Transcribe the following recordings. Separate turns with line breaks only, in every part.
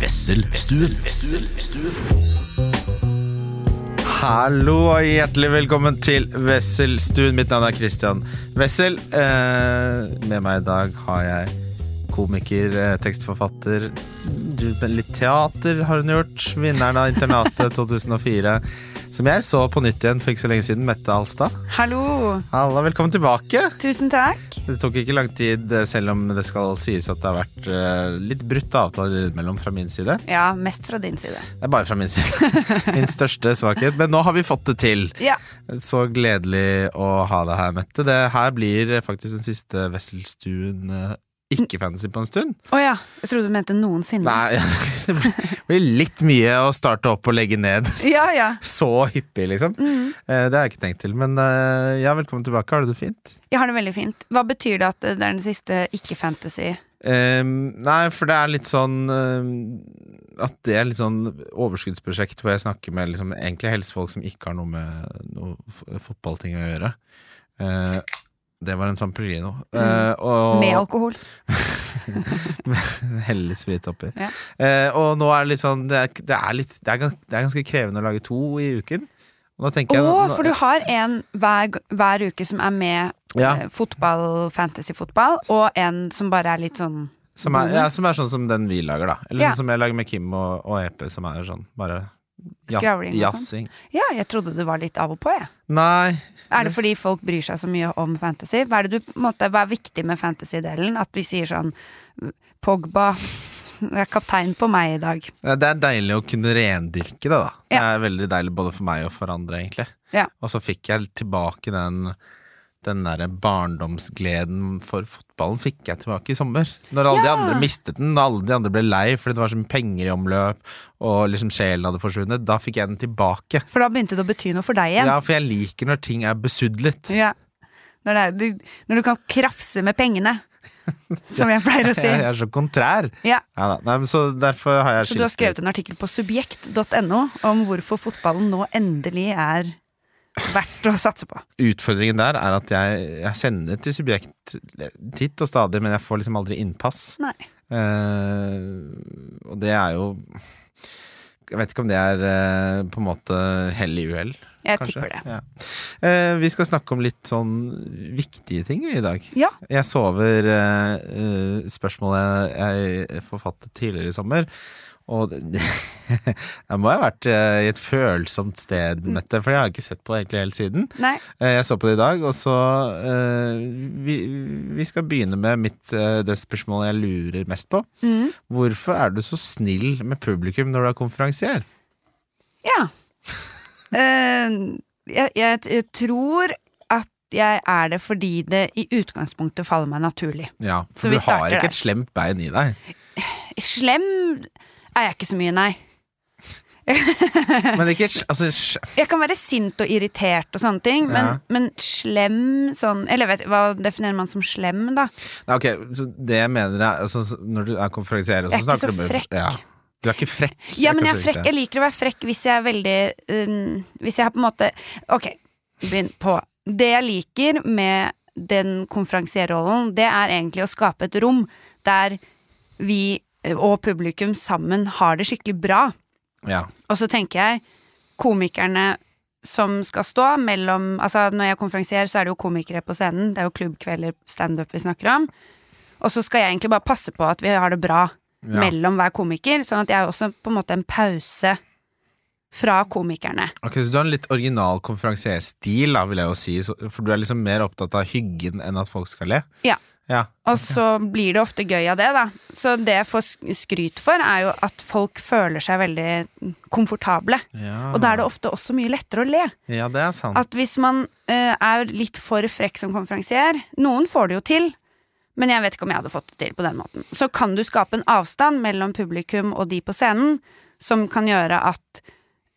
Wesselstuen.
Hallo og hjertelig velkommen til Wesselstuen. Mitt navn er Christian Wessel. Eh, med meg i dag har jeg komiker, eh, tekstforfatter du, Litt teater har hun gjort. Vinneren av Internatet 2004. Som jeg så på nytt igjen for ikke så lenge siden. Mette Alstad.
Hallo.
Halla, velkommen tilbake.
Tusen takk.
Det tok ikke lang tid, eh, selv om det skal sies at det har vært eh, litt brutte avtaler innimellom fra min side.
Ja, mest fra din side.
Det er bare fra min side. Min største svakhet. Men nå har vi fått det til.
Ja.
Så gledelig å ha deg her, Mette. Det her blir faktisk den siste Wesselstuen eh, ikke fantasy på en stund.
Å ja. Jeg trodde du mente noensinne.
Nei, det blir litt mye å starte opp og legge ned.
Ja, ja.
Så hyppig, liksom. Eh, Det har jeg ikke tenkt til. Men eh, ja, velkommen tilbake. Har du det fint?
Jeg har det veldig fint. Hva betyr det at det er den siste ikke-fantasy?
Eh, nei, for det er litt sånn eh, At det er litt sånn overskuddsprosjekt hvor jeg snakker med liksom, egentlig helsefolk som ikke har noe med noe f- fotballting å gjøre. Eh, det var en Samperino. Uh, og
Mm. Med alkohol?
Helle litt sprit oppi.
Ja.
Eh, og nå er det litt sånn Det er, det er, litt, det er, gans, det er ganske krevende å lage to i uken. Og da tenker
Å,
jeg nå-
for du har en hver, g- hver uke som er med
Ja.
eh, fotball, fantasy-fotball, og en som bare er litt sånn
som, er, ja, som er sånn som den vi lager, da. Eller
Ja.
sånn som jeg lager med Kim og, og EP, som er sånn bare ja-
Skravling og sånn.
jazzing.
Ja, jeg trodde du var litt av og på, jeg.
Nei, Mm.
Er det fordi folk bryr seg så mye om fantasy? Hva er, det du, på en måte, hva er viktig med fantasy-delen? At vi sier sånn Pogba er kaptein på meg i dag.
Ja, eh, Det er deilig å kunne rendyrke det, da. Det
Ja.
er veldig deilig både for meg og for andre, egentlig.
Ja.
Og så fikk jeg tilbake den den derre barndomsgleden for fotballen fikk jeg tilbake i sommer. Når alle de
Ja.
andre mistet den, når alle de andre ble lei fordi det var så mye penger i omløp, og liksom sjelen hadde forsvunnet, da fikk jeg den tilbake.
For da begynte det å bety noe for deg igjen.
Ja, for jeg liker når ting er besudlet.
Ja. Når, det er, du, når du kan krafse med pengene, som jeg pleier å si.
Jeg er så kontrær.
Ja.
Ja da. Nei, men så derfor har jeg
Så du har
skilt ut.
skrevet en artikkel på subjekt.no om hvorfor fotballen nå endelig er verdt å satse på.
Utfordringen der er at jeg, jeg sender til subjekt titt og stadig, men jeg får liksom aldri innpass.
Nei.
Eh, og det er jo Jeg vet ikke om det er eh, på en måte hell i uhell.
Jeg
kanskje?
tipper det.
Ja. Eh, vi skal snakke om litt sånn viktige ting i dag.
Ja.
Jeg så over eh, eh, spørsmålet jeg forfattet tidligere i sommer. Og det- jeg må ha vært eh, i et følsomt sted,
Mm.
Mette, for jeg har ikke sett på det egentlig helt siden.
Nei.
Eh, Jeg så på det i dag, og så eh, vi, vi skal begynne med mitt, eh, det spørsmålet jeg lurer mest på.
Mm.
Hvorfor er du så snill med publikum når du er konferansier?
Ja. Eh, jeg, jeg, jeg tror at jeg er det fordi det i utgangspunktet faller meg naturlig.
Ja,
Så
for du
vi starter
har ikke
der.
et slemt bein i deg.
Slem er jeg ikke så mye, nei.
Men ikke sj- altså, sj-
Jeg kan være sint og irritert og sånne ting, men,
Ja.
men slem sånn Eller vet, hva definerer man som slem, da?
Nei, Ok, så det jeg mener er altså, så- Når du er konferansier og
Jeg er ikke
snakker
så
du med-
frekk.
Ja. Du er ikke frekk.
Ja, men jeg, er
kanskje
frekk,
ikke
jeg liker å være frekk hvis jeg er veldig øhm, Hvis jeg har på en måte Ok, begynn på. Det jeg liker med den konferansierrollen, det er egentlig å skape et rom der vi ø, og publikum sammen har det skikkelig bra.
Ja.
Og så tenker jeg komikerne som skal stå mellom Altså når jeg konferansierer, så er det jo komikere på scenen. Det er jo klubbkvelder, standup vi snakker om. Og så skal jeg egentlig bare passe på at vi har det bra
Ja.
mellom hver komiker, sånn at jeg er også på en måte en pause fra komikerne.
Ok, Så du har en litt original konferansierstil, da, vil jeg jo si. så- For du er liksom mer opptatt av hyggen enn at folk skal le.
Ja.
Ja.
Og så blir det ofte gøy av det, da. Så det jeg får sk- skryt for, er jo at folk føler seg veldig komfortable.
ja.
Og da er det ofte også mye lettere å le.
Ja, det er sant.
At hvis man eh, er litt for frekk som konferansier Noen får det jo til, men jeg vet ikke om jeg hadde fått det til på den måten. Så kan du skape en avstand mellom publikum og de på scenen som kan gjøre at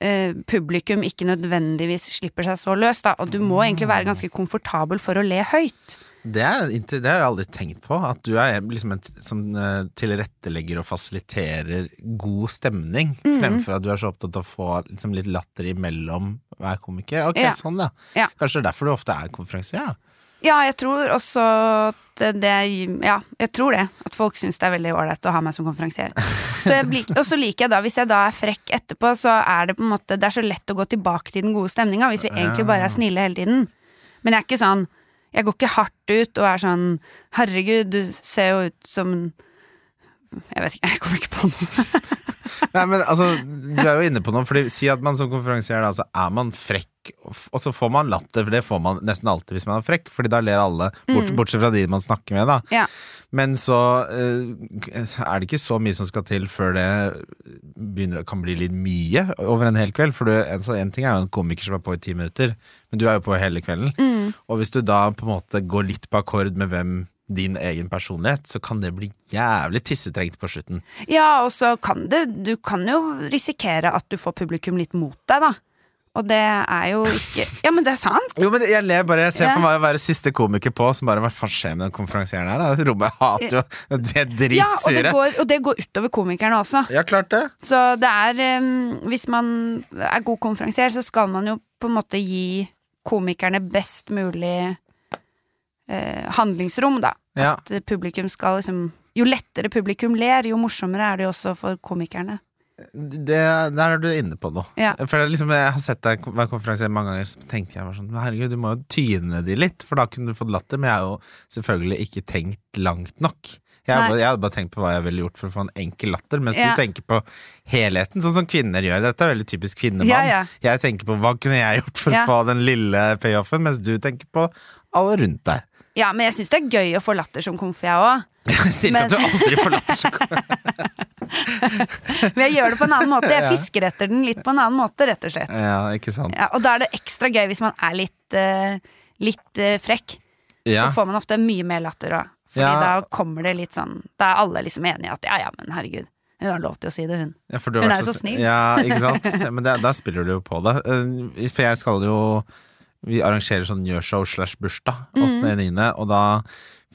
eh, publikum ikke nødvendigvis slipper seg så løs, da. Og du må egentlig være ganske komfortabel for å le høyt.
Det, er, inte- det har jeg aldri tenkt på. At du er liksom en t- som eh, tilrettelegger og fasiliterer god stemning,
Mhm.
fremfor at du er så opptatt av å få liksom, litt latter imellom hver komiker. Ok,
Ja.
sånn ja.
Ja.
Kanskje det er derfor du ofte er konferansier, da.
Ja, jeg tror også at det Ja, jeg tror det. At folk syns det er veldig ålreit å ha meg som konferansier. Så jeg lik- Og så liker jeg da, hvis jeg da er frekk etterpå, så er det på en måte Det er så lett å gå tilbake til den gode stemninga hvis vi egentlig bare er snille hele tiden. Men jeg er ikke sånn Jeg går ikke hardt ut og er sånn Herregud, du ser jo ut som en Jeg vet ikke, jeg kommer ikke på noe.
Nei, men altså, Du er jo inne på noe. Fordi Si at man som konferansier da, så er man frekk, og f- og så får man latter. For det får man nesten alltid hvis man er frekk, Fordi da ler alle, bort,
Mm.
bortsett fra de man snakker med. da
Ja.
Men så eh, er det ikke så mye som skal til før det begynner, kan bli litt mye over en hel kveld. For du, en, så en ting er jo en komiker som er på i ti minutter, men du er jo på hele kvelden.
Mm.
Og hvis du da på en måte går litt på akkord med hvem din egen personlighet, så kan det bli jævlig tissetrengt på slutten.
Ja, og så kan det Du kan jo risikere at du får publikum litt mot deg, da. Og det er jo ikke Ja, men det er sant!
Jo, men jeg ler bare. Jeg ser
Ja.
for meg å være siste komiker på som bare Hva faen skjer med den konferansieren her? da? Rommet hater jo De er
Ja, og det,
dritsure.
går, og det går utover komikerne også.
Ja, klart det.
Så det er eh, Hvis man er god konferansier, så skal man jo på en måte gi komikerne best mulig eh, handlingsrom, da.
Ja.
At publikum skal liksom Jo lettere publikum ler, jo morsommere er det jo også for komikerne.
det, der er du inne på noe.
Ja.
For det er liksom, jeg har sett deg være konferansier mange ganger, så tenkte jeg bare sånn Herregud, du må jo tyne de litt, for da kunne du fått latter. Men jeg har jo selvfølgelig ikke tenkt langt nok. Jeg,
Nei.
hadde- jeg hadde bare tenkt på hva jeg ville gjort for å få en enkel latter, mens
Ja.
du tenker på helheten, sånn som kvinner gjør. Dette er veldig typisk kvinnemann.
Ja, ja.
Jeg tenker på hva kunne jeg gjort for
Ja.
å få den lille payoffen, mens du tenker på alle rundt deg.
Ja, men jeg syns det er gøy å få latter som komf, jeg òg.
Jeg sier ikke
Men-
at du aldri får latter. så kom-
Men jeg gjør det på en annen måte. Jeg
Ja.
fisker etter den litt på en annen måte, rett og slett.
Ja, ikke sant.
Ja, og da er det ekstra gøy hvis man er litt, eh, litt eh, frekk.
Ja.
Så får man ofte mye mer latter òg. Fordi
Ja.
da kommer det litt sånn Da er alle liksom enige i at ja, ja, men herregud. Hun har lov til å si det, hun.
Ja, for du har
Hun
vært
er jo så snill.
Ja, ikke sant? Men det, der spiller du jo på det. Eh, For jeg skal jo Vi arrangerer sånn gjørshow slash bursdag
Mhm.
8.9., og da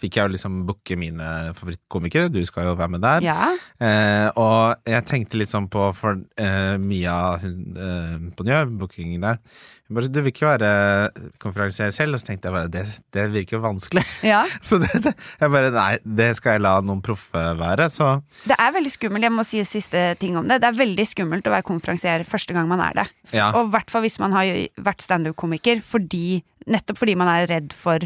fikk jeg jo liksom booke mine favorittkomikere. Du skal jo være med der.
Ja.
Eh, og jeg tenkte litt sånn på For eh, Mia hun, eh, på Njø, bookingen der Hun bare Du vil ikke være konferansier selv? Og så tenkte jeg bare Det, det virker jo vanskelig.
ja.
Så det, det, jeg bare Nei, det skal jeg la noen proffe være. Så
Det er veldig skummelt. Jeg må si siste ting om det. Det er veldig skummelt å være konferansier første gang man er det. F-
Ja.
Og i hvert fall hvis man har vært standup-komiker, fordi, nettopp fordi man er redd for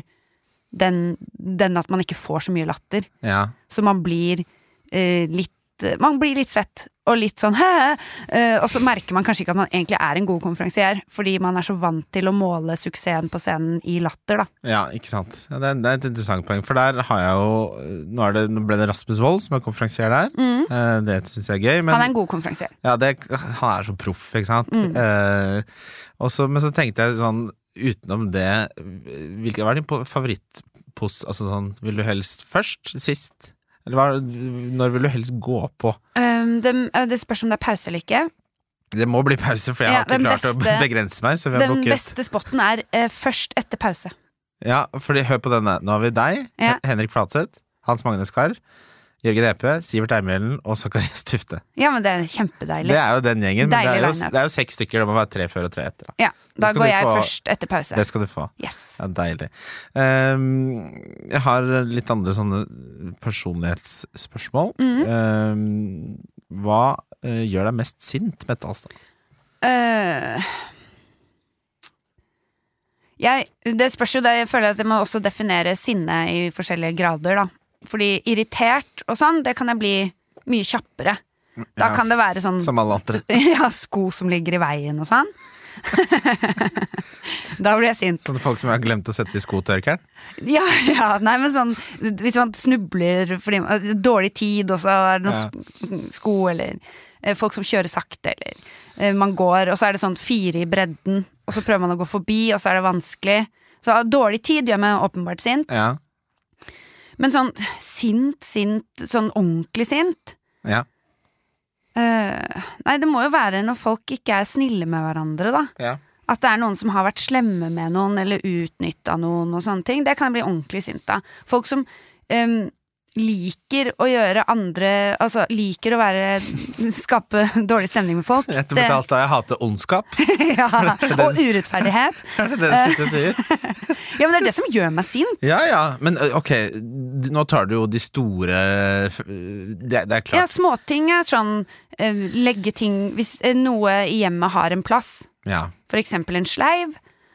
den, den at man ikke får så mye latter.
ja.
Så man blir eh, litt eh, Man blir litt svett og litt sånn hæ? Eh, og så merker man kanskje ikke at man egentlig er en god konferansier, fordi man er så vant til å måle suksessen på scenen i latter, da.
Ja, ikke sant. Ja, det, er, det er et interessant poeng, for der har jeg jo Nå, er det, nå ble det Rasmus Wold som er konferansier der. Eh, Det syns jeg er gøy. Men
Mm. Han er en Mm. god konferansier.
ja, det, han er så proff, ikke sant. Eh, og så- men så tenkte jeg sånn utenom det Hvilken var din po- favorittpos? Altså sånn, vil du helst først? Sist? Eller hva, når vil du helst gå på?
Um, det, eh, det spørs om det er pause eller ikke.
Det må bli pause, for jeg
Ja,
har ikke
den
klart å
beste-
begrense meg. Så vi har
Den
booket
beste spotten er eh, først etter pause.
Ja, fordi hør på denne. Nå har vi deg,
Ja.
Henrik Flatseth, Hans Magne Skar, Jørgen Epe, Sivert Eimhjellen og Zakarias Tufte.
Ja, men det er
Det
kjempedeilig.
er jo den gjengen. Men det er
Deilig
jo,
lineup.
det er jo seks stykker, det må være tre før og tre etter. Da.
Ja, da
skal
går
du
jeg
få-
først etter pause.
Det skal du få.
Yes.
Ja, deilig. Ehm, jeg har litt andre sånne personlighetsspørsmål.
Mhm.
Ehm, hva eh, gjør deg mest sint, Mette Alstad?
Eh, jeg, det spørs jo det, jeg føler at jeg må også definere sinne i forskjellige grader, da. Fordi irritert og sånn, det kan jeg bli mye kjappere. Da
Ja.
kan det være sånn
Som alle andre.
ja, sko som ligger i veien og sånn. da blir jeg sint.
Sånne folk som jeg har glemt å sette i skotørkeren.
Ja, ja, nei, men sånn Hvis man snubler fordi man eh, Dårlig tid, og så er
Ja.
det noen sk- sko, eller eh, folk som kjører sakte, eller eh, man går, og så er det sånn fire i bredden, og så prøver man å gå forbi, og så er det vanskelig. Så ah, dårlig tid gjør meg åpenbart sint.
Ja.
Men sånn sint, sint, sånn ordentlig sint
Ja.
eh, Nei, det må jo være når folk ikke er snille med hverandre, da.
ja.
At det er noen som har vært slemme med noen eller utnytta noen og sånne ting. Det kan jeg bli ordentlig sint av. Folk som øhm, ehm, liker å gjøre andre Altså liker å være Skape dårlig stemning med folk.
Etter fortalt deg jeg hater ondskap.
ja, og urettferdighet.
Er det det du sitter og sier?
Ja, men det er det som gjør meg sint.
Ja ja, men ø, ok, d- nå tar du jo de store f- Det, det er
Ja,
klart.
småting er sånn eh, legge ting Hvis eh, noe i hjemmet har en plass,
Ja.
for eksempel en sleiv,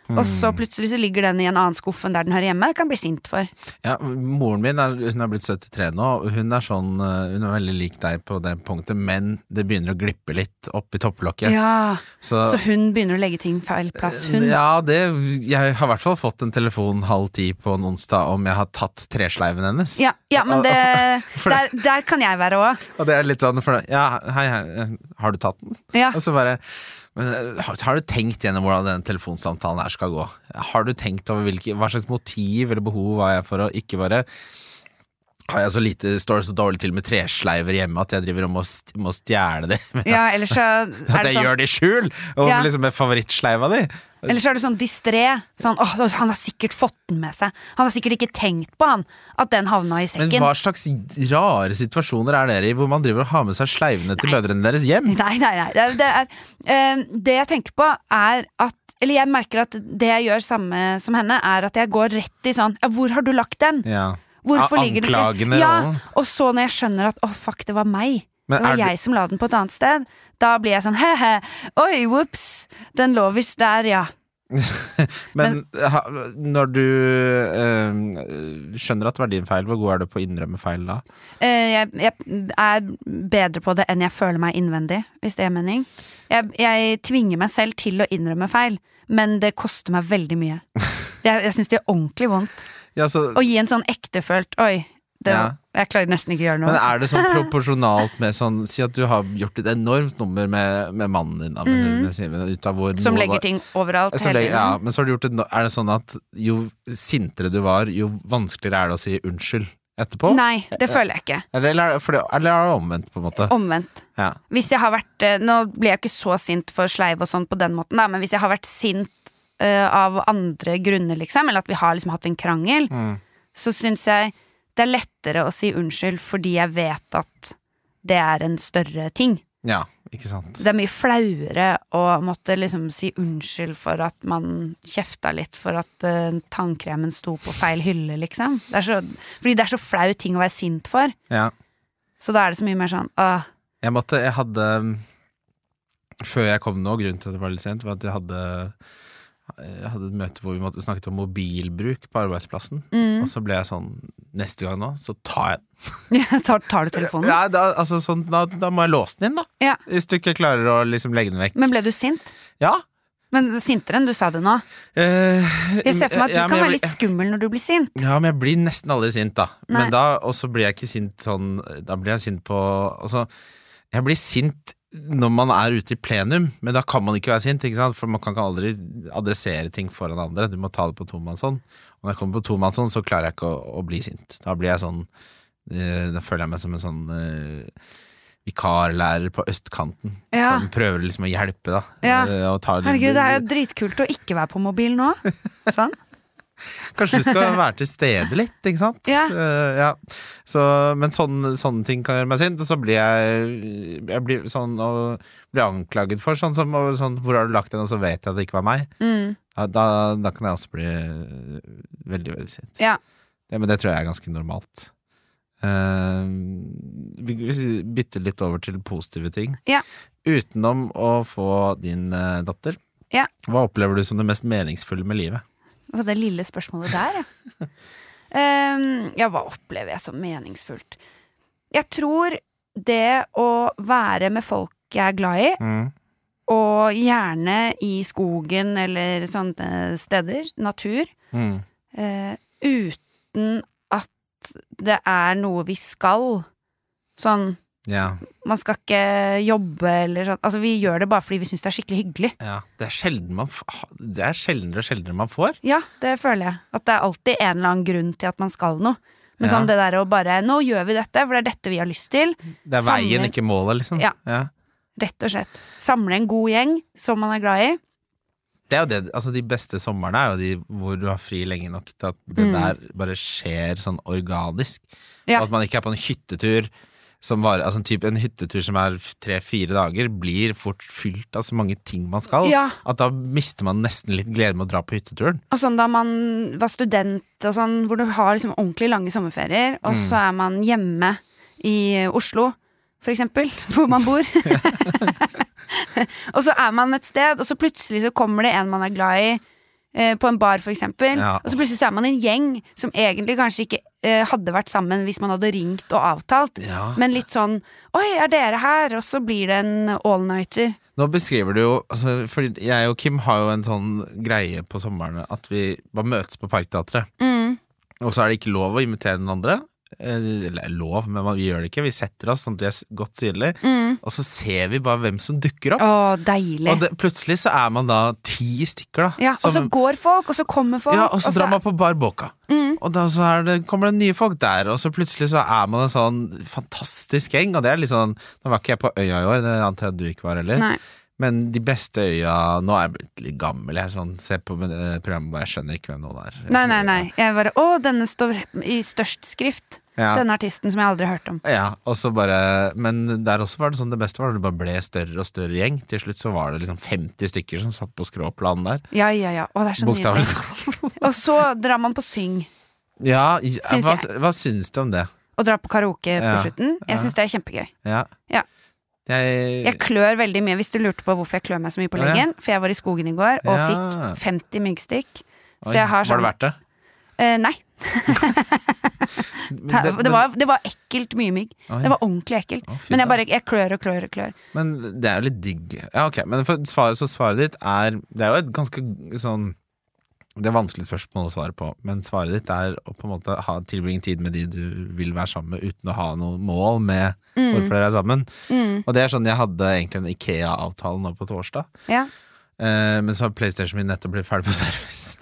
og så plutselig så ligger den i en annen skuff enn der den hører hjemme, kan jeg bli sint for.
Ja, moren min er, hun er blitt 73 nå, og hun er sånn eh, Hun er veldig lik deg på det punktet, men det begynner å glippe litt opp i topplokket.
Ja, Eh,
så,
Så hun begynner å legge ting feil plass, hun.
ja, det Jeg har i hvert fall fått en telefon halv ti på en onsdag om jeg har tatt tresleiven hennes.
Ja, ja men det,
for-
der, der kan jeg være òg.
Og det er litt sånn for, Ja, hei, hei, har du tatt den?
Ja.
Og så bare men eh, har har du tenkt gjennom hvordan den telefonsamtalen her skal gå? Har du tenkt over hvilke, hva slags motiv eller behov har jeg for å ikke bare Har jeg så lite, står det så dårlig til med tresleiver hjemme at jeg driver og må, st- må stjele det? Men
Ja, ellers så
at
er det
jeg
sånn,
gjør det i skjul! Og
Ja.
liksom med favorittsleiva di!
eller så er du sånn distré. Sånn, åh, han har sikkert fått den med seg. Han har sikkert ikke tenkt på han at den havna i
Men
sekken.
hva slags rare situasjoner er dere i hvor man driver og har med seg sleivene til mødrene deres hjem?
Nei, nei, nei. Det er, det, er, eh, det jeg tenker på, er at Eller jeg merker at det jeg gjør samme som henne, er at jeg går rett i sånn ja, 'Hvor har du lagt den?'
Ja.
Hvorfor ligger den
Anklagende
ikke ja,
rollen.
Og så når jeg skjønner at 'Å, fuck, det var meg'.
Men
det var
er du-
jeg som la den på et annet sted. Da blir jeg sånn he-he, oi, whoops, den lå visst der, ja.
Men, ha, når du eh, skjønner at det var din feil, hvor god er du på å innrømme feil da?
Eh, jeg, jeg er bedre på det enn jeg føler meg innvendig, hvis det er mening. Jeg, jeg tvinger meg selv til å innrømme feil, men det koster meg veldig mye. Jeg, jeg syns det gjør ordentlig vondt.
Ja, så,
Å gi en sånn ektefølt Oi, det,
Ja.
jeg klarer nesten ikke å gjøre noe.
men er det sånn proporsjonalt med sånn Si at du har gjort et enormt nummer med, med mannen din, da, men- men sier vi ut av hvor
Mhm. som
noe
legger
var- Eh,
ting overalt
Som
hele
legger- ja,
tiden.
men så har du gjort et, no- er det sånn at jo sintere du var, jo vanskeligere er det å si unnskyld etterpå?
Nei, det føler jeg ikke.
Eller, eller, er det, for det, eller er det omvendt, på en måte?
Omvendt.
Ja.
Hvis jeg har vært eh, Nå blir jeg ikke så sint for sleiv og sånn på den måten, da, men hvis jeg har vært sint eh, av andre grunner, liksom, eller at vi har liksom hatt en krangel, så syns jeg det er lettere å si unnskyld fordi jeg vet at det er en større ting.
ja, ikke sant.
Det er mye flauere å måtte liksom si unnskyld for at man kjefta litt for at eh, tannkremen sto på feil hylle, liksom. Det er så, fordi det er så flau ting å være sint for.
Ja.
Så da er det så mye mer sånn åh,
Jeg måtte, jeg hadde mm, Før jeg kom nå, grunnen til at det var litt sent Var at jeg hadde Jeg hadde et møte hvor vi måtte snakket om mobilbruk På arbeidsplassen
Mm.
Og så ble jeg sånn, neste gang nå, så tar jeg
tar, tar du telefonen?
Nei, da, altså, sånn, da, da må jeg låse den inn da
Ja.
Hvis du ikke klarer å liksom legge den vekk
Men ble du sint?
Ja eh,
Men sintere enn du sa det nå. Jeg ser for meg at du kan være litt skummel når du blir sint.
Ja, men jeg blir nesten aldri sint, da.
Nei.
Men da, og så blir jeg ikke sint sånn Da blir jeg sint på Altså, jeg blir sint når man er ute i plenum, men da kan man ikke være sint, ikke sant? for man kan ikke aldri adressere ting foran andre. Du må ta det på tomannshånd. Og når jeg kommer på tomannshånd, så klarer jeg ikke å, å bli sint. Da blir jeg sånn eh, Da føler jeg meg som en sånn eh, vikarlærer på østkanten
Ja.
som prøver liksom å hjelpe, da.
Ja.
eh, og tar-
Herregud, det er jo dritkult å ikke være på mobil nå. Sånn.
Kanskje du skal være til stede litt, ikke sant?
Ja.
Eh, ja. Så, men sånne, sånne ting kan gjøre meg sint, og så blir jeg, jeg blir sånn, og blir anklaget for sånn som og sånn, Hvor har du lagt den, og så vet jeg at det ikke var meg.
Mm.
Da, da, da kan jeg også bli eh, veldig, veldig sint.
Ja.
Ja, men det tror jeg er ganske normalt. Eh, vi vi bytter litt over til positive ting.
Ja.
Utenom å få din eh, datter,
Ja.
hva opplever du som det mest meningsfulle med livet?
Det var det lille spørsmålet der, ja. Ehm, ja, hva opplever jeg som meningsfullt? Jeg tror det å være med folk jeg er glad i, og gjerne i skogen eller sånne steder, natur,
Mm.
eh, uten at det er noe vi skal. Sånn
Ja.
Man skal ikke jobbe eller sånn. Altså, vi gjør det bare fordi vi syns det er skikkelig hyggelig.
Ja, det er, sjelden man, f- ha- det er sjeldnere og sjeldnere man får.
Ja, det føler jeg. At det er alltid en eller annen grunn til at man skal noe. Men
Ja.
sånn det der å bare Nå gjør vi dette, for det er dette vi har lyst til.
Det er
Samme-
veien, ikke målet, liksom.
Ja. Rett og slett. Samle en god gjeng som man er glad i.
Det er jo det, altså De beste somrene er jo de hvor du har fri lenge nok til at det
Mm.
der bare skjer sånn organisk.
Ja.
Og at man ikke er på en hyttetur som varer Altså en, type, en hyttetur som er tre-fire dager, blir fort fylt av så mange ting man skal.
Ja.
At da mister man nesten litt glede med å dra på hytteturen.
Og sånn da man var student og sånn, hvor du har liksom ordentlig lange
Mm.
sommerferier, og så er man hjemme i Oslo, for eksempel, hvor man bor. og så er man et sted, og så plutselig så kommer det en man er glad i, eh, på en bar for eksempel,
Ja.
og så plutselig så er man en gjeng som egentlig kanskje ikke eh, hadde vært sammen hvis man hadde ringt og avtalt,
Ja.
men litt sånn, oi, er dere her? Og så blir det en all-nighter.
Nå beskriver du jo altså, Fordi jeg og Kim har jo en sånn greie på sommeren at vi bare møtes på Parkteatret.
Mm.
Og så er det ikke lov å invitere den andre. Eh, Eller lov, men vi gjør det ikke. Vi setter oss sånn at vi er s- godt synlig, og så ser vi bare hvem som dukker opp.
Mm. Å, deilig.
Og det, plutselig så er man da ti stykker, da.
ja, og så
som-
går folk, og så Mm. kommer folk
ja, og så drar man på Bar Boca. Og da så er det, kommer det nye folk der, og så plutselig så er man en sånn fantastisk gjeng. Og det er litt sånn Nå var ikke jeg på øya i år, det antar jeg at du ikke var heller.
Nei.
Men de beste øya Nå er jeg blitt litt gammel, jeg sånn, ser på eh, programmet og jeg skjønner ikke hvem noen er.
Nei, nei, nei. Jeg bare Å, denne står i størst skrift.
Ja.
Denne artisten som jeg aldri har hørt om.
Ja, og så bare Men der også var det sånn det beste var når det bare ble større og større gjeng. Til slutt så var det liksom 50 stykker som satt på skråplan der.
Ja, ja, ja. Å, det er så
Bokstavelig
nydelig.
talt.
Og så drar man på syng.
Ja, i-
Syns
hva,
jeg.
hva syns du om det?
Og drar på karaoke på
Ja,
slutten. Jeg syns det er kjempegøy.
Ja.
Ja.
Jeg,
Jeg klør veldig mye, hvis du lurte på hvorfor jeg klør meg så mye på
Ja.
leggen. For jeg var i skogen i går og
Ja.
fikk 50 myggstikk.
Oi,
Så jeg har
Var
sånn
det verdt det?
Eh, nei. Det,
Men
det, var, det var ekkelt mye mygg.
Oi.
Det var ordentlig ekkelt.
Å, fy
Men jeg
da.
bare jeg klør og klør og klør.
Men det er jo litt digg. Ja, ok, men for svaret, så svaret ditt er Det er jo et ganske sånn Det er vanskelig spørsmål å svare på, men svaret ditt er å på en måte ha, tilbringe tid med de du vil være sammen med, uten å ha noe mål med hvorfor dere er sammen. Og det er sånn jeg hadde egentlig en Ikea-avtale nå på torsdag,
Ja.
eh, men så har PlayStation min nettopp blitt ferdig på service.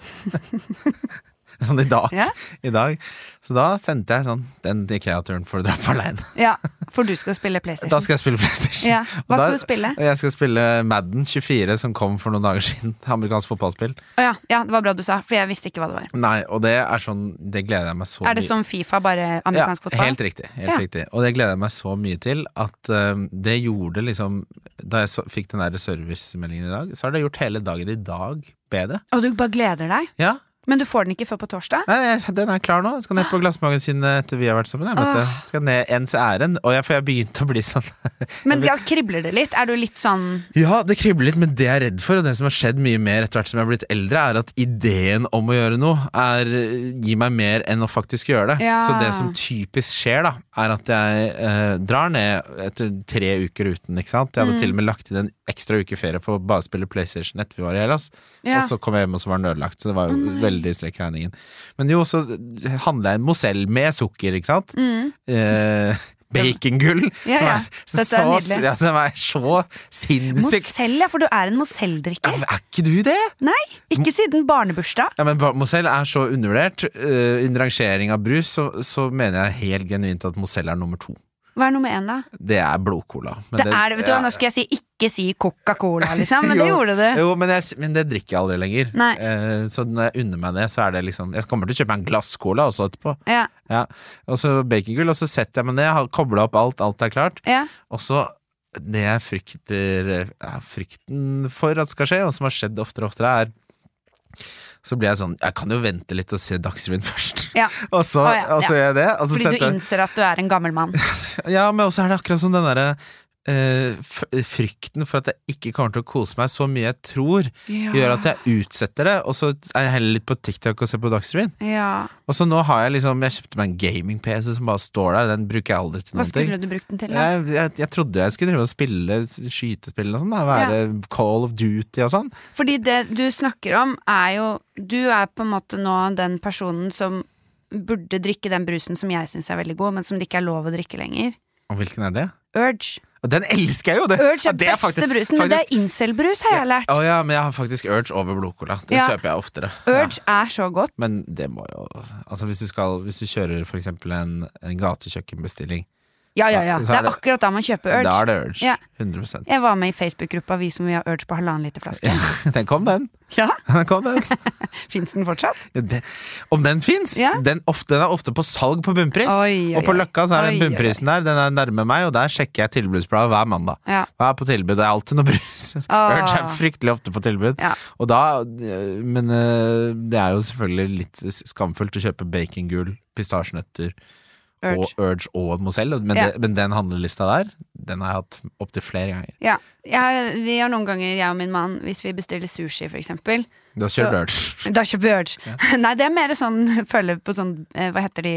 sånn i dag,
Ja.
i dag. Så da sendte jeg sånn Den Ikea-turen får du dra på aleine.
ja. For du skal spille
Da
PlayStation.
skal jeg spille PlayStation.
Ja.
Og
Hva
da-
skal du spille?
Jeg skal spille Madden 24, som kom for noen dager siden. Amerikansk fotballspill.
Å ja. ja, det var bra du sa, for jeg visste ikke hva det var.
Nei, og det er sånn Det gleder jeg meg så
Er det som Fifa, bare amerikansk
ja,
fotball?
Helt riktig. Helt
Ja.
riktig. Og det gleder jeg meg så mye til at øhm, det gjorde liksom Da jeg så, fikk den der servicemeldingen i dag, så har det gjort hele dagen i dag bedre.
Og du bare gleder deg?
Ja.
Men du får den ikke før på torsdag?
Nei, jeg- den er klar nå. Jeg skal ned på Glassmagasinet etter vi har vært sammen. Jeg vet det. Skal ned ens ærend. Og jeg, for jeg begynte å bli sånn
Men ja, kribler det litt? Er du litt sånn
Ja, det kribler litt, men det jeg er redd for, og det som har skjedd mye mer etter hvert som jeg har blitt eldre, er at ideen om å gjøre noe er, gir meg mer enn å faktisk gjøre det.
Ja.
Så det som typisk skjer, da, er at jeg eh, drar ned etter tre uker uten, ikke sant. Jeg
Mm.
hadde til og med lagt inn en ekstra uke ferie for å bare spille PlayStation etter vi var i Hellas.
Ja.
Og så kom jeg hjem, og så var den ødelagt. Så det var jo veldig i strekk i regningen. Men jo, så handla jeg en Mozell med sukker, ikke sant. Eh, Bacongull.
Mm. Ja,
som
ja.
som
Dette er
så-
nydelig.
Ja, som er så sinnssykt
Mozell, ja, for du er en Mozell-drikker.
er ikke du det?
Nei, ikke siden barnebursdag.
Ja, men Ba- Mozell er så undervurdert. Eh, Innen rangering av brus så, så mener jeg helt genuint at Mozell er nummer to.
Hva er nummer én, da?
Det er blodcola. Men
Det er det, vet du hva,
ja.
Nå skulle jeg si 'ikke si Coca-Cola', liksom, men det
Jo,
gjorde du.
Jo, men, jeg, men det drikker jeg aldri lenger.
Nei.
Eh, så når jeg unner meg det, så er det liksom Jeg kommer til å kjøpe meg en glass cola også etterpå.
Ja,
Ja. Og så bacongull, og så setter jeg meg ned, har kobla opp alt, alt er klart.
ja.
Og så det jeg frykter er Frykten for at skal skje, og som har skjedd oftere og oftere, er Så blir jeg sånn Jeg kan jo vente litt og se Dagsrevyen først.
Ja.
Og så,
Å ja,
og så
ja.
gjør jeg det. Og så
Fordi du
setter jeg-
innser at du er en gammel mann.
ja, men også er det akkurat som den derre eh, f- frykten for at jeg ikke kommer til å kose meg så mye jeg tror, gjør at jeg utsetter det, og så er jeg heller litt på TikTok og ser på Dagsrevyen.
Ja.
Og så nå har jeg liksom Jeg kjøpte meg en gaming-PC som bare står der, den bruker jeg aldri til
Hva
noen ting.
skulle du brukt den til, da?
Jeg, jeg, jeg trodde jeg skulle drive og spille skytespill og sånn, da, være Call of Duty og sånn.
Fordi det du snakker om er jo Du er på en måte nå den personen som burde drikke den brusen som jeg syns er veldig god, men som det ikke er lov å drikke lenger.
Og hvilken er det?
Urge.
Og den elsker jeg jo! Det,
Urge
Ja,
er
det
beste
faktisk-
brusen, men det
faktisk-
er incel-brus, har jeg lært.
Å ja, men jeg har faktisk Urge over blodcola. Det
Ja.
kjøper jeg oftere.
Urge er så godt.
Men det må jo Altså hvis du skal Hvis du kjører for eksempel en, en gatekjøkkenbestilling
Ja, ja, ja.
Ja, så
Det
er
er
det-
akkurat da man kjøper
Da er
Urge.
det urge.
Ja.
100
Jeg var med i Facebook-gruppa Vi som vil ha Urge på halvannen liter flaske.
Den kom, den.
Ja,
den, kom, den.
Fins den fortsatt?
Ja, det- Om den fins?
Ja.
Den, ofte, den er ofte på salg på bunnpris.
Oi, oi,
og på
oi.
Løkka så er den
Oi, oi,
bunnprisen der. Den er nærme meg, og der sjekker jeg tilbudsbladet hver mandag.
Ja.
Hva er på tilbud? Det er alltid noe brus.
Ah.
Urge er fryktelig ofte på tilbud.
Ja.
Og da, øh, men øh, det er jo selvfølgelig litt skamfullt å kjøpe bacongull, pistasjenøtter og
Urge.
Urge og en Mozell, men,
Ja.
det- men den handlelista der, den har jeg hatt opptil flere ganger.
Ja. Jeg, har- vi har noen ganger, jeg og min mann, hvis vi bestiller sushi, for eksempel,
Du har
Så-
kjørt Urge.
da kjøper vi Urge. Nei, det er mer sånn følge på sånn eh, Hva heter de?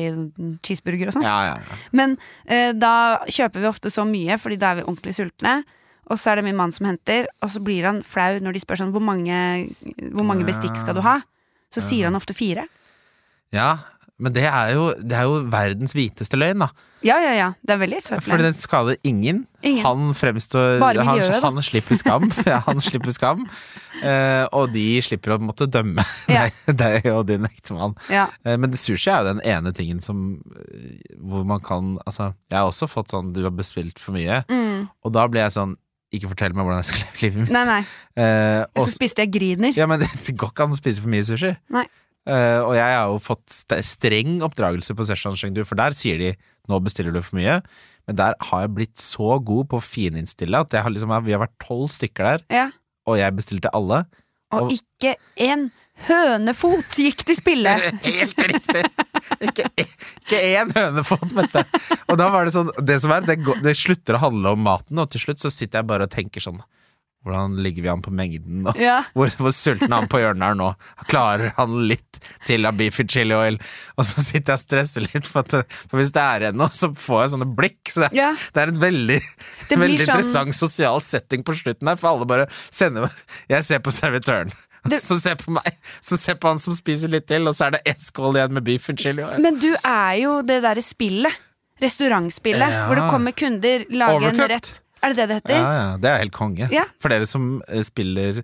Cheeseburger og sånn.
Ja, ja, ja.
Men eh, da kjøper vi ofte så mye, fordi da er vi ordentlig sultne. Og så er det min mann som henter, og så blir han flau når de spør sånn hvor mange, hvor mange bestikk skal du ha? Så sier han ofte fire.
ja. Men det er, jo, det er jo verdens hviteste løgn, da.
Ja, ja, ja. Det er veldig søt.
Fordi
men-
den skader ingen.
Ingen.
Han fremstår
Bare miljøet, da.
han, han slipper skam. ja, han slipper skam. Eh, og de slipper å måtte dømme
Ja.
deg- deg og din ektemann.
Ja.
Eh, men sushi er jo den ene tingen som eh, Hvor man kan Altså, jeg har også fått sånn Du har bespilt for mye.
Mm.
Og da blir jeg sånn Ikke fortell meg hvordan jeg skal leve livet mitt.
Nei, nei.
Eh,
Så
og,
spiste jeg griner.
ja, men det går ikke an å spise for mye sushi.
Nei.
Eh, og jeg har jo fått st streng oppdragelse på Session Chengdu, for der sier de 'nå bestiller du for mye', men der har jeg blitt så god på å fininnstille at jeg har liksom, vi har vært tolv stykker der,
Ja.
og jeg bestilte alle.
Og
Og-
ikke en hønefot gikk til spille.
Helt riktig! Ikke, ikke én hønefot, Mette. Og da var det sånn Det som er, det, går, det slutter å handle om maten, og til slutt så sitter jeg bare og tenker sånn Hvordan ligger vi an på mengden? Og
Ja.
Hvor, hvor sulten er han på hjørnet her nå? Klarer han litt til av beef and chili oil? Og så sitter jeg og stresser litt, for, at, for hvis det er igjen noe, så får jeg sånne blikk. Så det, er-
Ja.
det er en veldig,
Det blir
veldig
sånn-
interessant sosial setting på slutten her, for alle bare sender Jeg ser på servitøren.
Det-
Som ser på meg, som ser på han som spiser litt til, og så er det én skål igjen med beef and chili. oil.
Men du er jo det derre spillet. Restaurantspillet.
Ja.
Hvor det kommer kunder, lager en
Overcooked.
rett. Er det det det heter?
Ja, ja, det er helt konge.
Ja.
For dere som eh, spiller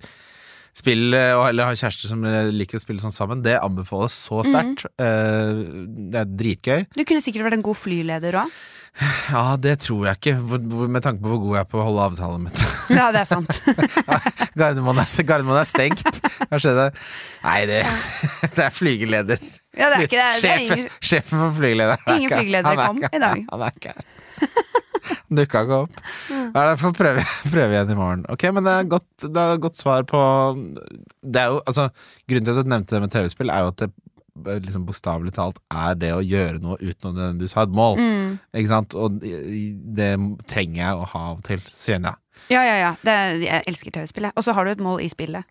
Spill, eh, og- eller har kjærester som eh, liker å spille sånn sammen, det anbefales så
Mhm.
sterkt. Eh, det er dritgøy.
Du kunne sikkert vært en god flyleder òg.
Ja, det tror jeg ikke, hvor, hvor, med tanke på hvor god jeg er på å holde avtalen mitt.
Ja, det er sant.
Gardermoen er, Gardermoen er stengt. Hva skjedde? Nei, det, det er flygeleder.
Ja, det er ikke det. er- det er
sjefen,
ingen,
sjefen for flygelederen. er
Ingen
ikke-
flygeledere
han er
kom
ikke-
i dag.
Han er ikke her. Dukka ikke opp.
Mm.
Ja, da får vi prøve, prøve igjen i morgen. Ok, men det er godt, det er godt svar på det er jo, altså, Grunnen til at jeg nevnte det med TV-spill, er jo at det eh, liksom bokstavelig talt er det å gjøre noe uten å nødvendigvis ha et mål.
Mm.
Ikke sant? Og i- i- det trenger jeg å ha av og til, så kjenner jeg.
ja, ja, ja. Det er, jeg elsker TV-spillet. Og så har du et mål i spillet.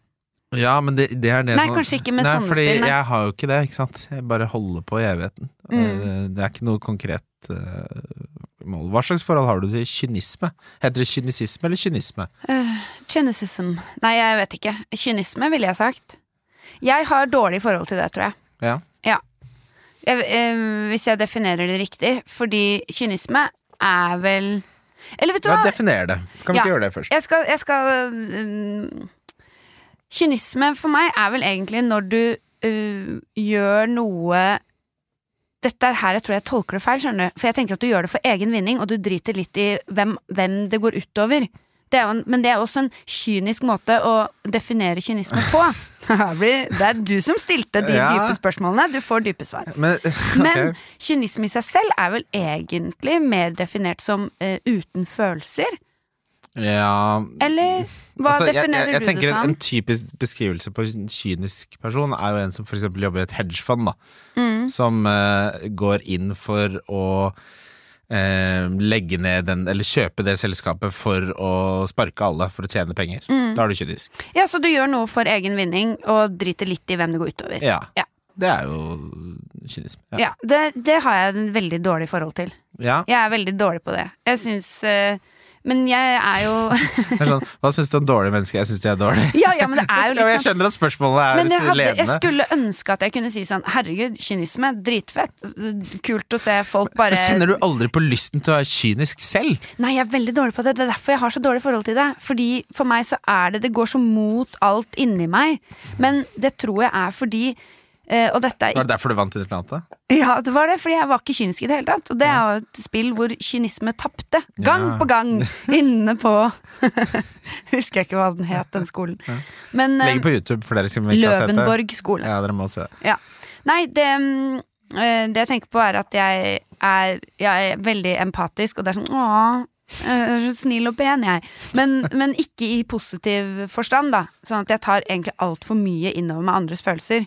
Ja, men det, det er det
Nei,
som-
kanskje ikke med
Nei,
sånne
fordi
spill. nei.
jeg har jo ikke det, ikke sant? Jeg bare holder på i evigheten.
Mm.
Eh, Det er ikke noe konkret eh, mål. Hva slags forhold har du til kynisme? Heter det kynisisme eller kynisme?
Kynicism. Nei, jeg vet ikke. Kynisme, ville jeg sagt. Jeg har dårlig forhold til det, tror jeg.
Ja.
jeg, eh, Hvis jeg definerer det riktig. Fordi kynisme er vel Eller vet du
ja,
hva?
definer det. Kan vi
Ja.
ikke gjøre det først?
Jeg skal, jeg skal mm, Kynisme for meg er vel egentlig når du øh, gjør noe Dette er her jeg tror jeg tolker det feil, skjønner du. For jeg tenker at du gjør det for egen vinning, og du driter litt i hvem, hvem det går utover. Det er jo en, men det er også en kynisk måte å definere kynisme på. Her blir- det er du som stilte de
Ja.
dype spørsmålene. Du får dype svar.
Men,
Men
ok.
kynisme i seg selv er vel egentlig mer definert som eh, uten følelser?
ja
Eller hva
altså, jeg-
definerer
jeg, jeg
du det
tenker en,
som?
en typisk beskrivelse på en kynisk person er jo en som f.eks. jobber i et hedgefond, da.
Mm.
Som eh, går inn for å eh, legge ned den, eller kjøpe det selskapet for å sparke alle for å tjene penger.
Mm.
Da er du kynisk.
Ja, Så du gjør noe for egen vinning og driter litt i hvem det går utover.
Ja.
Ja.
Det er jo kynisme. Ja.
Ja, det, det har jeg en veldig dårlig forhold til.
ja.
Jeg er veldig dårlig på det. Jeg syns eh, Men jeg er jo
Det er sånn, hva syns du om dårlige mennesker? Jeg syns de er dårlige.
Ja, ja, men det er
Ja,
jo
men
litt
jeg
sånn
skjønner at spørsmålet er
men jeg, hadde, jeg
ledende.
skulle ønske at jeg kunne si sånn Herregud, kynisme. Dritfett. Kult å se folk bare
Men kjenner du aldri på lysten til å være kynisk selv?
Nei, jeg er veldig dårlig på det. Det er derfor jeg har så dårlig forhold til det. Fordi for meg så er det Det går så mot alt inni meg. Men det tror jeg er fordi Eh, og dette er
Var det derfor du vant Interplantet?
Ja, det var det, fordi jeg var ikke kynisk i det hele tatt. Og det er jo et spill hvor kynisme tapte, gang
Ja.
på gang, inne på Husker jeg ikke hva den het, den skolen. Men eh,
Legg på YouTube for dere som ikke har sett det.
Løvenborg skole.
Ja, dere må se.
Ja. Nei, det, mm, eh, det jeg tenker på er at jeg er, jeg er veldig empatisk, og det er sånn åh, jeg er så snill og pen, jeg. Men, men ikke i positiv forstand, da. Sånn at jeg tar egentlig altfor mye innover meg andres følelser.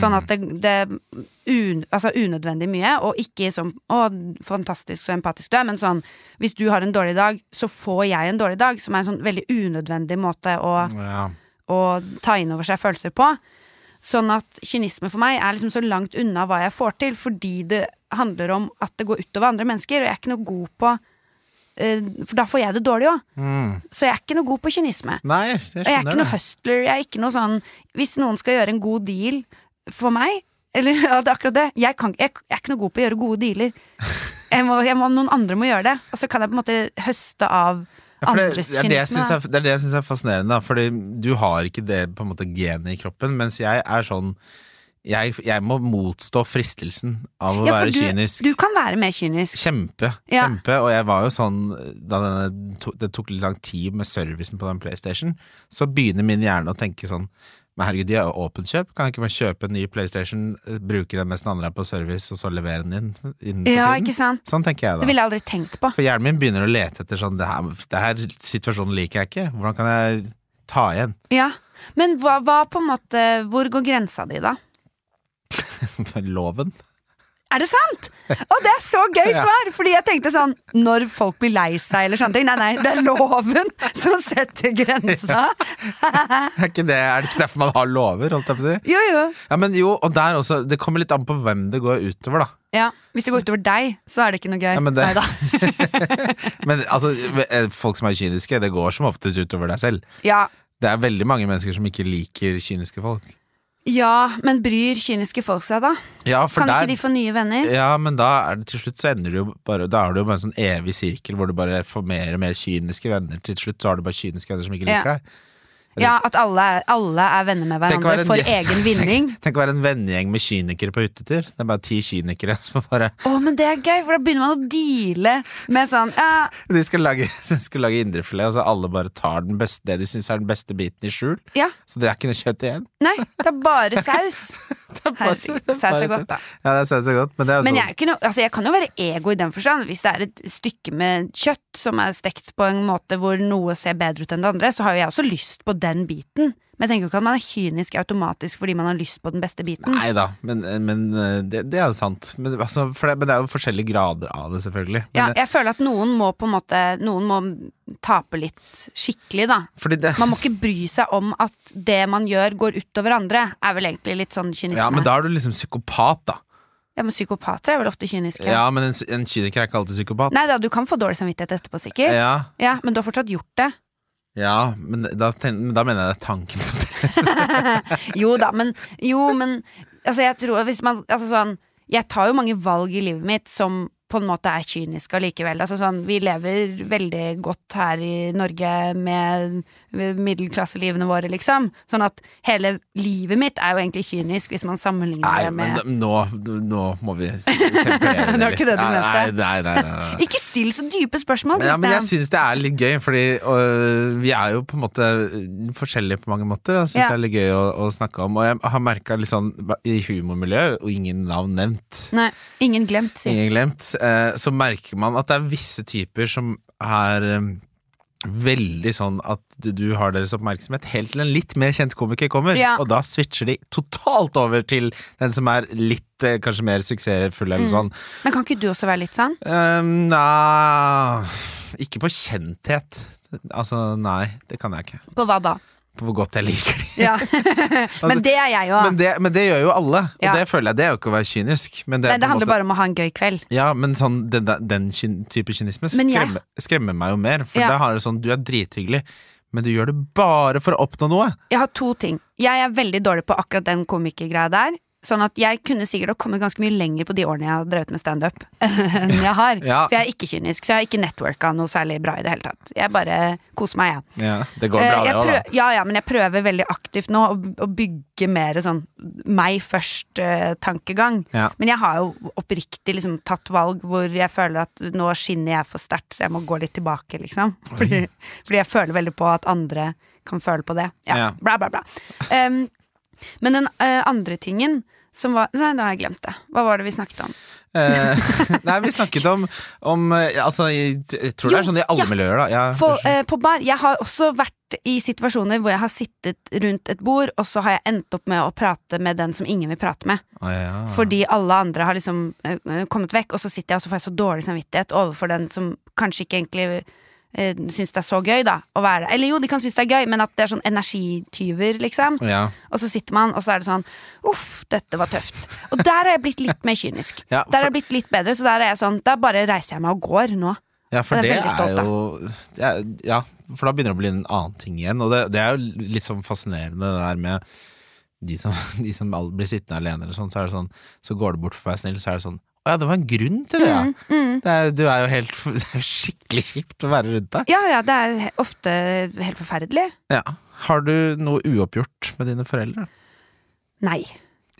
Sånn at det, det un, altså unødvendig mye, og ikke sånn å, fantastisk så empatisk du er, men sånn hvis du har en dårlig dag, så får jeg en dårlig dag, som er en sånn veldig unødvendig måte å
Ja.
å ta inn over seg følelser på. Sånn at kynisme for meg er liksom så langt unna hva jeg får til, fordi det handler om at det går utover andre mennesker, og jeg er ikke noe god på eh, For da får jeg det dårlig òg.
Mm.
Så jeg er ikke noe god på kynisme.
Nei, jeg skjønner
Og jeg er ikke
det.
noe hustler. Jeg er ikke noe sånn Hvis noen skal gjøre en god deal for meg Eller ja, det er akkurat det. Jeg, kan, jeg, jeg er ikke noe god på å gjøre gode dealer. Jeg må, jeg må, noen andre må gjøre det. Og så kan jeg på en måte høste av
Ja, for det,
andres
det, er det, jeg
kynisme.
synes er, det er det jeg syns er fascinerende, da. Fordi du har ikke det på en måte genet i kroppen, mens jeg er sånn Jeg, jeg må motstå fristelsen av å
ja, for
være
du,
kynisk.
du kan være mer kynisk.
Kjempe,
Ja.
kjempe. Og jeg var jo sånn Da denne, to, det tok litt lang tid med servicen på den PlayStation, så begynner min hjerne å tenke sånn Men herregud, de har jo åpent kjøp. Kan jeg ikke bare kjøpe en ny PlayStation, eh, bruke den mens den andre er på service, og så levere den inn innenfor
Ja,
tiden?
ikke sant?
Sånn tenker jeg da.
Det ville jeg aldri tenkt på.
For hjernen min begynner å lete etter sånn det her, det her situasjonen liker jeg ikke. Hvordan kan jeg ta igjen?
Ja. Men hva, hva på en måte Hvor går grensa di, da?
Loven?
Er det sant?! Og det er så gøy svar! Fordi jeg tenkte sånn Når folk blir lei seg eller sånne ting. Nei, nei, det er loven som setter grensa.
Er, ikke det, er det ikke derfor man har lover, holdt jeg på å si?
Jo, jo.
Ja, men jo, og der også, det kommer litt an på hvem det går utover, da.
Ja, Hvis det går utover deg, så er det ikke noe gøy.
Ja, men det-
Neida.
Men altså, eh, folk som er kyniske, det går som oftest utover deg selv.
Ja.
Det er veldig mange mennesker som ikke liker kyniske folk.
ja, men bryr kyniske folk seg, da?
Ja, for
Kan
der,
ikke de få nye venner?
Ja, men da er det til slutt så ender det jo bare Da har du jo bare en sånn evig sirkel hvor du bare får mer og mer kyniske venner. Til slutt så har du bare kyniske venner som ikke
Ja.
liker deg.
Ja, At alle er, alle er venner med
Eh, Tenk å være
hverandre
en
for
gjeng-
egen vinning?
Tenk å være en vennegjeng med kynikere på hyttetur. Det er bare ti kynikere som bare
Å, men det er gøy, for da begynner man å deale med sånn ja,
De skal lage, de skal lage indrefilet, og så alle bare tar den beste, det de syns er den beste biten i skjul.
ja
Så det er ikke noe kjøtt igjen.
Nei, det er bare saus.
Det er bare-
Herregud,
det
saus er
bare-
godt, da.
Ja, det er saus er godt, men det er jo
Men
sånn
jeg, er jo ikke noe, altså jeg kan jo være ego i den forstand. Hvis det er et stykke med kjøtt som er stekt på en måte hvor noe ser bedre ut enn det andre, så har jo jeg også lyst på den biten. Men jeg tenker jo ikke at man er kynisk automatisk fordi man har lyst på den beste biten.
Nei da, men, men eh, det, det er jo sant. Men, altså, for det, men det er jo forskjellige grader av det, selvfølgelig. Men,
Ja,
det-
jeg føler at noen må på en måte Noen må tape litt skikkelig, da.
Fordi det,
Man må ikke bry seg om at det man gjør, går utover andre. Er vel egentlig litt sånn kynisme.
ja, men da er du liksom psykopat, da.
ja, men psykopater er vel ofte kyniske.
Ja, men en, en kyniker er ikke alltid psykopat.
Nei da, du kan få dårlig samvittighet etterpå, sikkert. Ja.
Ja,
men du har fortsatt gjort det.
ja, men da, ten, men da mener jeg det er tanken som teller.
Jo da, men Jo, men Altså, jeg tror Hvis man Altså sånn Jeg tar jo mange valg i livet mitt som på en måte er kyniske allikevel. Altså sånn, vi lever veldig godt her i Norge med middelklasselivene våre, liksom. Sånn at hele livet mitt er jo egentlig kynisk, hvis man sammenligner
Nei,
det
men
med
da- nå, nå må vi temperere
Det var ikke det du
Nei,
mente.
Nei, nei, nei, nei, nei.
Ikke still så dype spørsmål,
Ja, men jeg
Kristian.
syns det er litt gøy, fordi øh, vi er jo på en måte øh, forskjellige på mange måter. og Jeg syns
Ja.
det er litt gøy å, å snakke om. Og jeg har merka litt sånn i humormiljøet, og ingen navn nevnt,
Nei, ingen glemt, si.
ingen glemt, eh, så merker man at det er visse typer som er eh, Veldig sånn at du, du har deres oppmerksomhet helt til en litt mer kjent komiker kommer,
Ja.
og da switcher de totalt over til den som er litt eh, kanskje mer suksessfull eller sånn.
Men kan ikke du også være litt sånn?
Um, nei Ikke på kjenthet. Altså, nei, det kan jeg ikke.
På hva da?
På hvor godt jeg liker de.
Ja. men det er jeg jo.
Men, det, men det gjør jo alle, og
Ja.
det føler jeg det er jo ikke å være kynisk. Men det, er
Nei,
på
det
en
handler
måte,
bare om å ha en gøy kveld.
Ja, men sånn, den, den kyn- type kynisme
Men jeg-
skremmer, skremmer meg jo mer. For
Ja.
da har det sånn, du er drithyggelig, men du gjør det bare for å oppnå noe.
Jeg har to ting. Jeg er veldig dårlig på akkurat den komikergreia der. Sånn at jeg kunne sikkert ha kommet ganske mye lenger på de årene jeg har drevet med standup. enn jeg har.
Ja.
For jeg er ikke kynisk, så jeg har ikke networka noe særlig bra i det hele tatt. Jeg bare koser meg, jeg.
Ja, det går
Eh,
bra,
jeg
det òg, da.
prøv- Ja, ja, men jeg prøver veldig aktivt nå å, å bygge mer sånn meg først-tankegang.
Ja.
Men jeg har jo oppriktig liksom, tatt valg hvor jeg føler at nå skinner jeg for sterkt, så jeg må gå litt tilbake, liksom. Fordi, fordi jeg føler veldig på at andre kan føle på det. Ja,
Ja.
bla, bla, bla. Em, men den eh, andre tingen som var Nei, nå har jeg glemt det. Hva var det vi snakket om?
Eh, nei, vi snakket om, om eh, Altså, jeg, jeg tror det er
Jo,
sånn i alle
ja.
miljøer, da. Ja,
For, eh, på bar, jeg har også vært i situasjoner hvor jeg har sittet rundt et bord, og så har jeg endt opp med å prate med den som ingen vil prate med.
Å, ja.
Fordi alle andre har liksom eh, kommet vekk, og så sitter jeg og så får jeg så dårlig samvittighet overfor den som kanskje ikke egentlig eh, syns det er så gøy, da. Å være. Eller jo, de kan synes det er gøy, men at det er sånn energityver, liksom.
ja.
Og så sitter man, og så er det sånn Uff, dette var tøft. Og der har jeg blitt litt mer kynisk.
Ja,
Der
for-
har jeg blitt litt bedre, så der er jeg sånn Da bare reiser jeg meg og går nå.
ja, for
Jeg er
det
veldig stolt,
er jo det er, Ja, for da begynner det å bli en annen ting igjen. Og det, det er jo litt sånn fascinerende det der med de som, de som all- blir sittende alene eller sånn, så er det sånn Så går det bort for å være snill, så er det sånn Å ja, det var en grunn til det, ja.
Mm,
Det er, du er jo helt f- Det er jo skikkelig kjipt å være rundt deg.
Ja ja, det er he- ofte helt forferdelig.
Ja. Har du noe uoppgjort med dine foreldre?
Nei.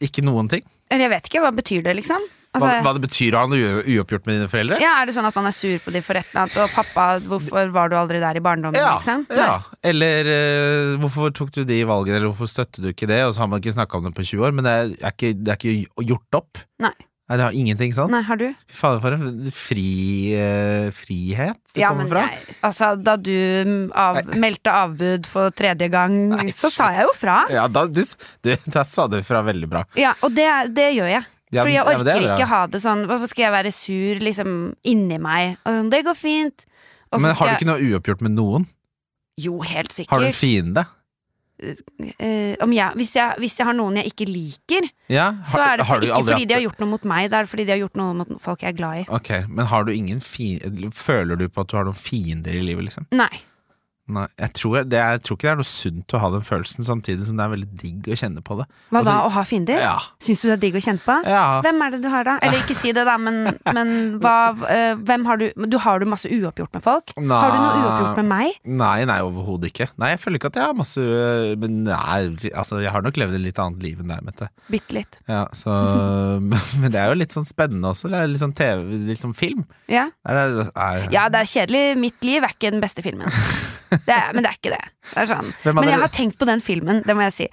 Ikke noen ting?
Eller jeg vet ikke, hva betyr det, liksom?
Hva, hva det betyr å ha noe u- uoppgjort med dine foreldre?
Ja, Er det sånn at man er sur på de for et eller annet? Og pappa, hvorfor var du aldri der i barndommen? liksom?
ja. Eller eh, hvorfor tok du de valgene, eller hvorfor støttet du ikke det? Og så har man ikke snakka om det på 20 år, men det er, er, ikke, det er ikke gjort opp.
Nei.
Nei, det har ingenting sånn.
Nei, har du?
Fy fader, for en fri, eh, frihet det
Ja, men
kommer fra.
nei, altså, da du mm, av, meldte avbud for tredje gang,
Nei,
så sa jeg jo fra.
Ja, da, du, s- du, da sa du fra veldig bra.
Ja, Og det, det gjør jeg.
Ja,
Fordi jeg
ja, men det er
orker
bra.
ikke ha det sånn Hvorfor skal jeg være sur liksom inni meg? Og sånn, det går fint. Og altså, så
Men har
skal
du ikke noe uoppgjort med noen?
jeg Jo, helt
Har du en
sikkert.
fiende?
Eh, om jeg, hvis, jeg, hvis jeg har noen jeg ikke liker,
Ja,
så er det
har
for,
du
ikke
aldri
fordi de har
hatt-
gjort noe mot meg, det er fordi de har gjort noe mot folk jeg er glad i.
Ok, men har du ingen fiende Føler du på at du har noen fiender i livet, liksom?
Nei.
Nei, jeg tror, det, jeg tror ikke det er noe sunt å ha den følelsen, samtidig som det er veldig digg å kjenne på det.
Hva
Altså,
da, å ha fiender?
Ja.
Syns du det er digg å kjenne på?
Ja.
Hvem er det du har da? Eller ikke si det, da, men, men hva, eh, hvem har du, men du Har du masse uoppgjort med folk?
Nei.
Har du noe uoppgjort med meg?
Nei, nei, overhodet ikke. Nei, jeg føler ikke at jeg har masse øh, Men nei, altså, jeg har nok levd et litt annet liv enn deg, Mette.
Bitte litt.
Ja, så, men det er jo litt sånn spennende også. Det er litt sånn TV, litt sånn film.
Ja.
Er det, er,
ja, det er kjedelig. Mitt liv er ikke den beste filmen. Det er, men det er ikke det. det er sånn.
Hvem er
Men
det-
jeg har tenkt på den filmen, det må jeg si.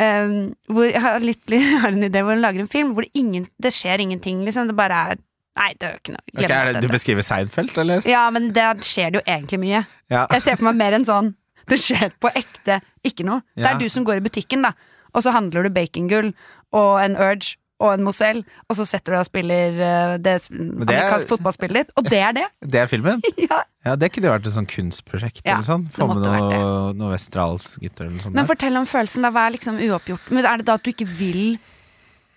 Um, hvor jeg har, litt, jeg har en idé hvor hun lager en film hvor det, ingen, det skjer ingenting. Liksom. Det bare er Nei, det er jo ikke noe.
Ok, er
Glem alt
det, du
dette.
beskriver Seinfeld, eller?
Ja, men der skjer det jo egentlig mye.
Ja.
Jeg ser for meg mer enn sånn Det skjer på ekte ikke noe. Det
Ja.
er du som går i butikken, da, og så handler du bacongull og en Urge og en Mozell, og så setter du deg og spiller eh,
det
det,
er-
amerikansk fotballspillet ditt, og det er det!
Det er filmen?
ja.
Ja, det kunne jo vært et sånn kunstprosjekt
Ja,
eller sånn.
det
Få med
måtte vært
noe, noe Westerdals-gutter eller sånn noe sånt.
Men
der.
fortell om følelsen, da. Hva er liksom uoppgjort? Men Er det da at du ikke vil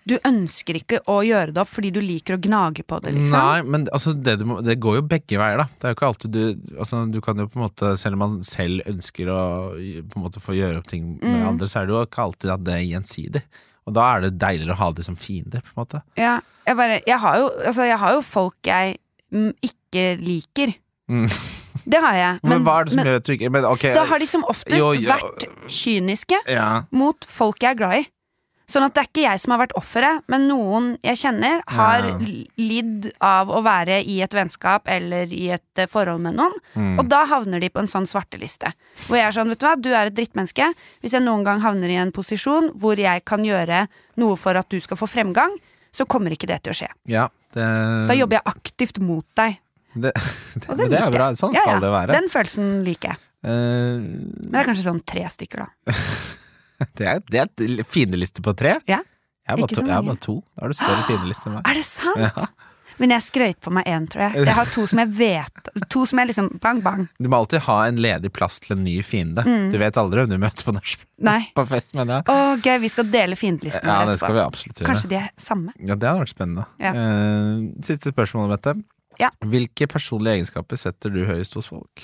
Du ønsker ikke å gjøre det opp fordi du liker å gnage på det, liksom?
Nei, men altså, det, du må, det går jo begge veier, da. Det er jo ikke alltid du altså, Du kan jo på en måte, selv om man selv ønsker å på en måte få gjøre opp ting med
Mm.
andre, så er det jo ikke alltid at det er gjensidig. Og da er det deiligere å ha de som fiender, på en måte.
Ja, jeg bare Jeg har jo, altså, jeg har jo folk jeg mm, ikke liker.
Mm.
Det har jeg.
Men, hva er det som gjør at du ikke Men ok,
Da har de som oftest
Jo, jo.
vært kyniske
ja,
mot folk jeg er glad i. Sånn at det er ikke jeg som har vært offeret, men noen jeg kjenner, har
Ja.
l- lidd av å være i et vennskap eller i et eh, forhold med noen.
Mm.
Og da havner de på en sånn svarteliste. Hvor jeg er sånn, vet du hva, du er et drittmenneske. Hvis jeg noen gang havner i en posisjon hvor jeg kan gjøre noe for at du skal få fremgang, så kommer ikke det til å skje.
ja det,
Da jobber jeg aktivt mot deg.
det, det,
Og
men
det
det
liker
er
jeg.
bra. Sånn skal det være.
Den følelsen liker jeg.
Eh,
Men det er kanskje sånn tre stykker, da.
det, er, det er et fiendeliste på tre.
Ja.
Jeg har bare,
Ikke
to-
så
jeg har
mye.
bare to. Da har du større fiendeliste enn meg.
Er det sant? Men jeg skrøyt på meg én, tror jeg. Jeg har to som jeg vet To som jeg liksom Bang, bang.
Du må alltid ha en ledig plass til en ny fiende.
Mm.
Du vet aldri hvem du møter på norsk
Nei.
på fest, mener jeg.
Å, gøy. Vi skal dele fiendelisten
Ja,
vår
det skal vi
etterpå.
absolutt gjøre.
Kanskje de er samme?
Ja, Det hadde vært spennende.
Ja.
Eh, siste spørsmål, Mette.
Ja.
Hvilke personlige egenskaper setter du høyest hos folk?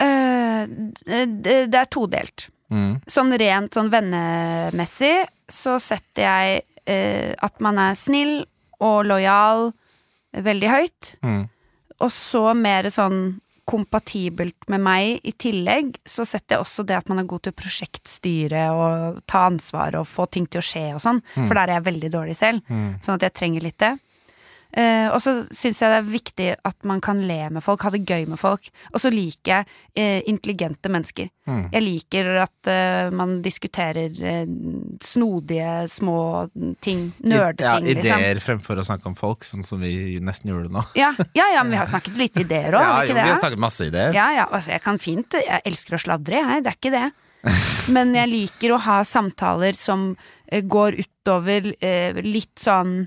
Eh, d- d- det er todelt.
Mm.
Sånn rent sånn vennemessig så setter jeg eh, at man er snill og lojal veldig høyt.
Mm.
Og så mer sånn kompatibelt med meg i tillegg, så setter jeg også det at man er god til å prosjektstyre og ta ansvar og få ting til å skje og sånn, for der er jeg veldig dårlig selv.
Mm.
Sånn at jeg trenger litt det. Eh, og så syns jeg det er viktig at man kan le med folk, ha det gøy med folk. Og så liker jeg eh, intelligente mennesker.
Mm.
Jeg liker at eh, man diskuterer eh, snodige små ting.
Ja,
Nerdeting, liksom.
ideer fremfor å snakke om folk, sånn som vi nesten gjorde nå.
Ja, ja, ja, men vi har snakket litt ideer òg,
Ja,
har
jo,
vi ikke det?
vi har
da?
snakket masse ideer.
Ja, ja, altså jeg kan fint Jeg elsker å sladre, jeg, det er ikke det. Men jeg liker å ha samtaler som eh, går utover eh, litt sånn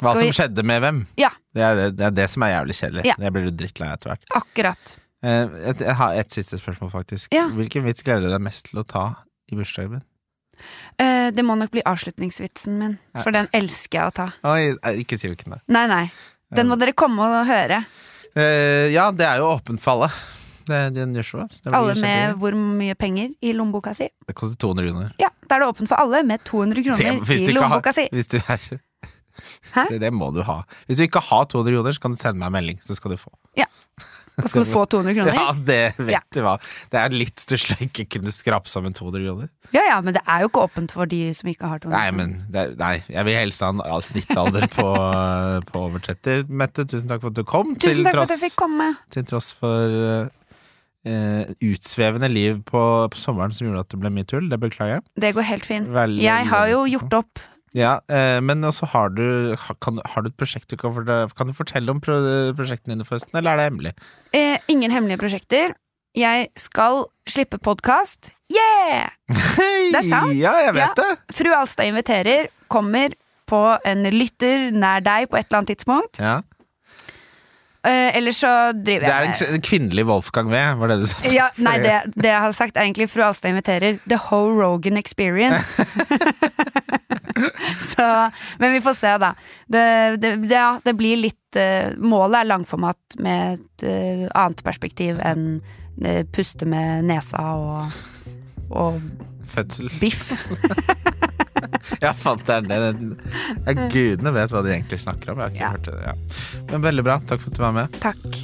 Hva
skal
som
vi-
skjedde med hvem.
Ja,
Det er det, det, er det som er jævlig kjedelig.
Ja.
Jeg blir jo drittlei etter hvert.
akkurat.
Eh, et, jeg har et siste spørsmål, faktisk.
Ja.
Hvilken vits gleder du deg mest til å ta i bursdagen min?
Eh, det må nok bli avslutningsvitsen min,
Ja.
for den elsker jeg å ta.
Oi, eh, ikke si hvilken det er.
Nei, nei. Den må dere komme og høre.
Eh, ja, det er jo åpent for alle. Det er det er unusual. så det blir
Alle
kjempegøy.
med hvor mye penger i lommeboka si.
Det koster 200 kroner.
Ja, da er det åpent for alle med 200
Det-
kroner
hvis du
i
ikke har-
lommeboka si.
Hvis du er
Hæ?
Det, det må du ha. Hvis du ikke har 200 kroner, så kan du sende meg en melding, så skal du få.
Da skal du få 200
Ja,
kroner.
det vet
Ja.
du hva. Det er litt stusslig å ikke kunne skrape sammen 200 kroner.
Ja ja, men det er jo ikke åpent for de som ikke har 200
Nei, men det, er- nei, jeg vil helst ha en all snittalder på, på over 30. Mette, tusen takk for at du kom. til
Tusen takk for
tross,
at jeg fikk komme.
Til tross for eh, utsvevende liv på, på sommeren som gjorde at det ble mye tull. Det beklager jeg.
Det går helt fint.
Veldig,
jeg har jo
veldig
gjort opp
Ja, eh, Men også har du, ha- kan, har du et prosjekt du kan, fortelle- kan du fortelle om pro, prosjektene dine, forresten? Eller er det hemmelig?
eh, ingen hemmelige prosjekter. Jeg skal slippe podkast. Yeah!
Hei!
Det er sant.
Ja, jeg vet det.
Fru Alstad inviterer. Kommer på en lytter nær deg på et eller annet tidspunkt.
Ja.
Eh, ellers så driver
Det
jeg
er
med
en, en kvinnelig Wolfgang V, var det du sa?
ja, Nei, det, det jeg har sagt, er egentlig Fru Alstad inviterer. The Ho Rogan Experience. så, men vi får se, da. Det, det, det, ja, det blir litt eh, Målet er langformat med et eh, annet perspektiv enn eh, puste med nesa og, og
Fødsel.
biff.
Ja, fant det er det. Ja, gudene vet hva de egentlig snakker om. Jeg har ikke
Ja.
hørt det. Ja. Men veldig bra. Takk for at du var med.
Takk.